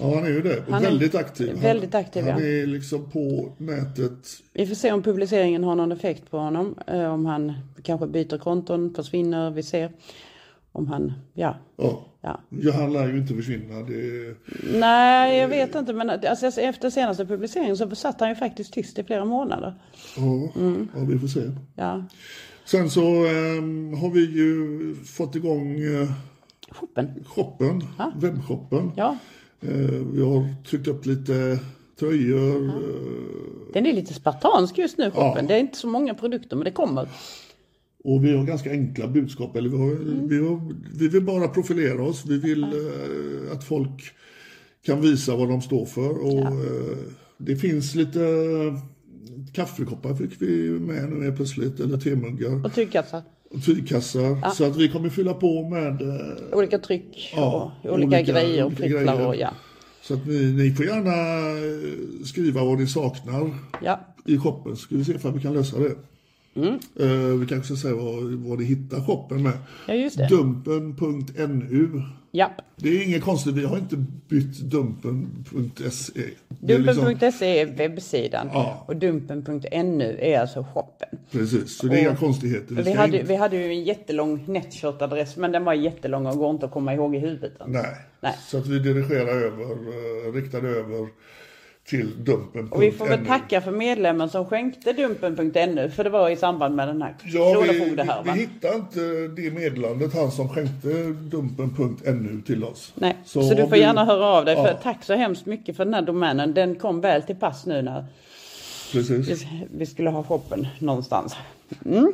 Ja, han är ju det. Och
Han är
väldigt aktiv.
väldigt aktiv,
Han, han
ja.
är liksom på nätet
Vi får se om publiceringen har någon effekt på honom. Eh, om han kanske byter konton, försvinner. Vi ser om han, ja.
Ja.
Ja.
ja, han lär ju inte försvinna. Det...
Nej, jag vet inte. Men alltså, efter senaste publiceringen så satt han ju faktiskt tyst i flera månader.
Ja,
Mm.
ja, vi får se.
Ja,
Sen så ehm, har vi ju fått igång eh,
shoppen.
shoppen, webbshoppen.
Ja,
Eh, vi har tryckt upp lite tröjor. eh,
den är lite spartansk just nu shoppen.
Ja.
Det är inte så många produkter men det kommer.
Och vi har ganska enkla budskap. Eller vi, har, vi, har, vi vill bara profilera oss. Vi vill eh, att folk kan visa vad de står för. Och, eh, det finns lite eh, kaffekoppar fick vi med nu helt plötsligt. Eller temuggar.
Och tygkassar.
och tygkassar. Så att vi kommer fylla på med... eh,
Olika tryck
Ja,
och olika,
olika-
grejer och
olika
pryttlar
grejer.
och ja.
Så att ni, ni får gärna eh, skriva vad ni saknar
Ja,
i shoppen. Ska vi se om vi kan lösa det.
Mm.
Eh, vi kanske ska säga vad, vad ni hittar shoppen med.
ja just det.
Dumpen.nu
Ja.
Det är inget konstigt, vi har inte bytt dumpen.se. Det är liksom-
Dumpen.se E är webbsidan
Ja.
och dumpen.nu är alltså shoppen.
Precis, så det är inga konstigheter.
Vi
ska
hade,
inte-
vi hade ju en jättelång Netshirt-adress men den var jättelång och går inte att komma ihåg i huvudet. alltså.
Nej.
Nej.
så att vi dirigerar över, eh, riktade över till dumpen.nu.
Och vi får väl tacka för medlemmen som skänkte Dumpen.nu för det var i samband med den här
Ja, vi, vi,
kronofogdehärvan.
vi hittar inte det meddelandet, han som skänkte dumpen.nu till oss.
Nej, så, du
om
får gärna höra av dig. För
Ja.
tack så hemskt mycket för den här domänen. Den kom väl till pass nu när
Precis.
vi skulle ha shoppen någonstans.
Ja,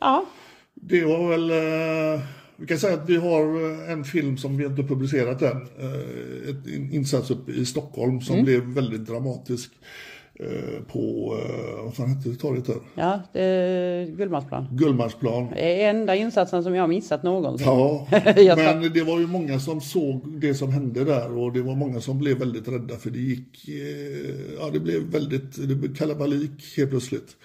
Ja,
det var väl... eh, Vi kan säga att vi har eh, en film som vi inte har publicerat än. eh, Ett in- insats uppe i Stockholm
Mm.
som blev väldigt dramatisk eh, på, eh, vad fan hette det torget där?
ja det, Gullmarsplan.
Gullmarsplan.
Det är enda insatsen som jag har missat någonsin.
Ja,
Jag satt-
men det var ju många som såg det som hände där och det var många som blev väldigt rädda för det gick, eh, ja det blev väldigt, det blev kalabalik helt plötsligt.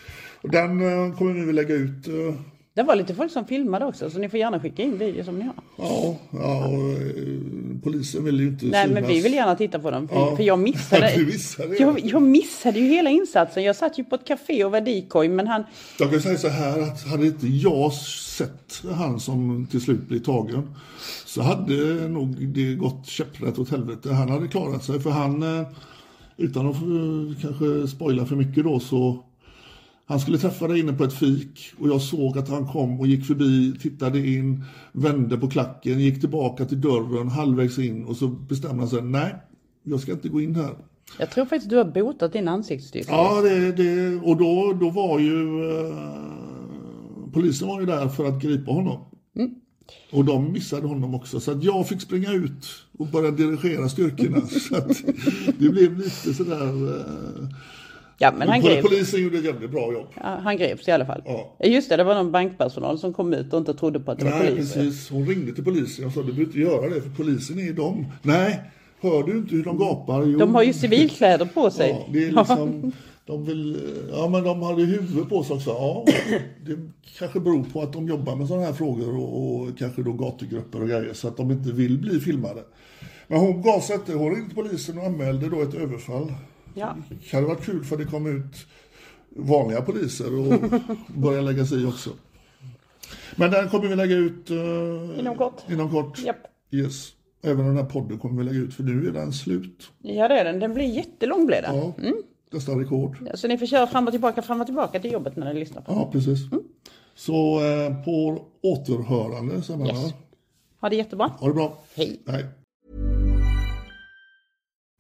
Och den eh, kommer vi väl lägga ut, eh,
Det var lite folk som filmade också så ni får gärna skicka in videor som ni har.
ja, ja och, eh, polisen vill ju inte
Nej men
synas.
vi vill gärna titta på dem. För,
Ja.
för jag missade.
Du missade
jag,
det.
jag missade ju hela insatsen. Jag satt ju på ett café och var decoy men han.
Jag kan säga så här att hade inte jag sett han som till slut blev tagen så hade nog det gått käpprätt åt helvete. Han hade klarat sig för han, eh, utan att eh, kanske spoila för mycket då, så han skulle träffa dig inne på ett fik och jag såg att han kom och gick förbi, tittade in, vände på klacken, gick tillbaka till dörren halvvägs in och så bestämde han sig, nej, jag ska inte gå in här.
Jag tror faktiskt du har botat din ansiktsstyrka.
Ja, det, det, och då, då var ju eh, polisen var ju där för att gripa honom.
Mm.
Och de missade honom också, så att jag fick springa ut och börja dirigera styrkorna. så att det blev lite sådär... Eh,
Ja, men han
pol-
greps.
polisen gjorde ett jävligt bra jobb.
Ja, Han greps i alla fall.
Ja.
Just det, det var någon bankpersonal som kom ut och inte trodde på att det var
Nej,
poliser.
precis. Hon ringde till polisen och sa du behöver inte göra det för polisen är ju dem. Nej, Hör du inte hur de gapar? Jo.
De har ju civilkläder på
Ja,
sig.
det är liksom, de vill, ja men de hade huvud på sig också. Ja, det kanske beror på att de jobbar med sådana här frågor och, och kanske då gatugrupper och grejer så att de inte vill bli filmade. Men hon gasade, hon ringde polisen och anmälde då ett överfall.
Ja.
Det hade varit kul för det kom ut vanliga poliser och började lägga sig i också. Men den kommer vi lägga ut eh,
Inom kort.
Inom kort.
Japp.
Yes. Även den här podden kommer vi lägga ut för nu är den slut.
ja, det är den. Den blir jättelång blir den.
Ja, nästan rekord.
Så ni får köra fram och tillbaka, fram och tillbaka till jobbet när ni lyssnar på.
Ja, precis.
Mm.
Så eh, på återhörande, Sanna.
Yes. Ha det jättebra.
Ha det bra.
Hej.
Hej.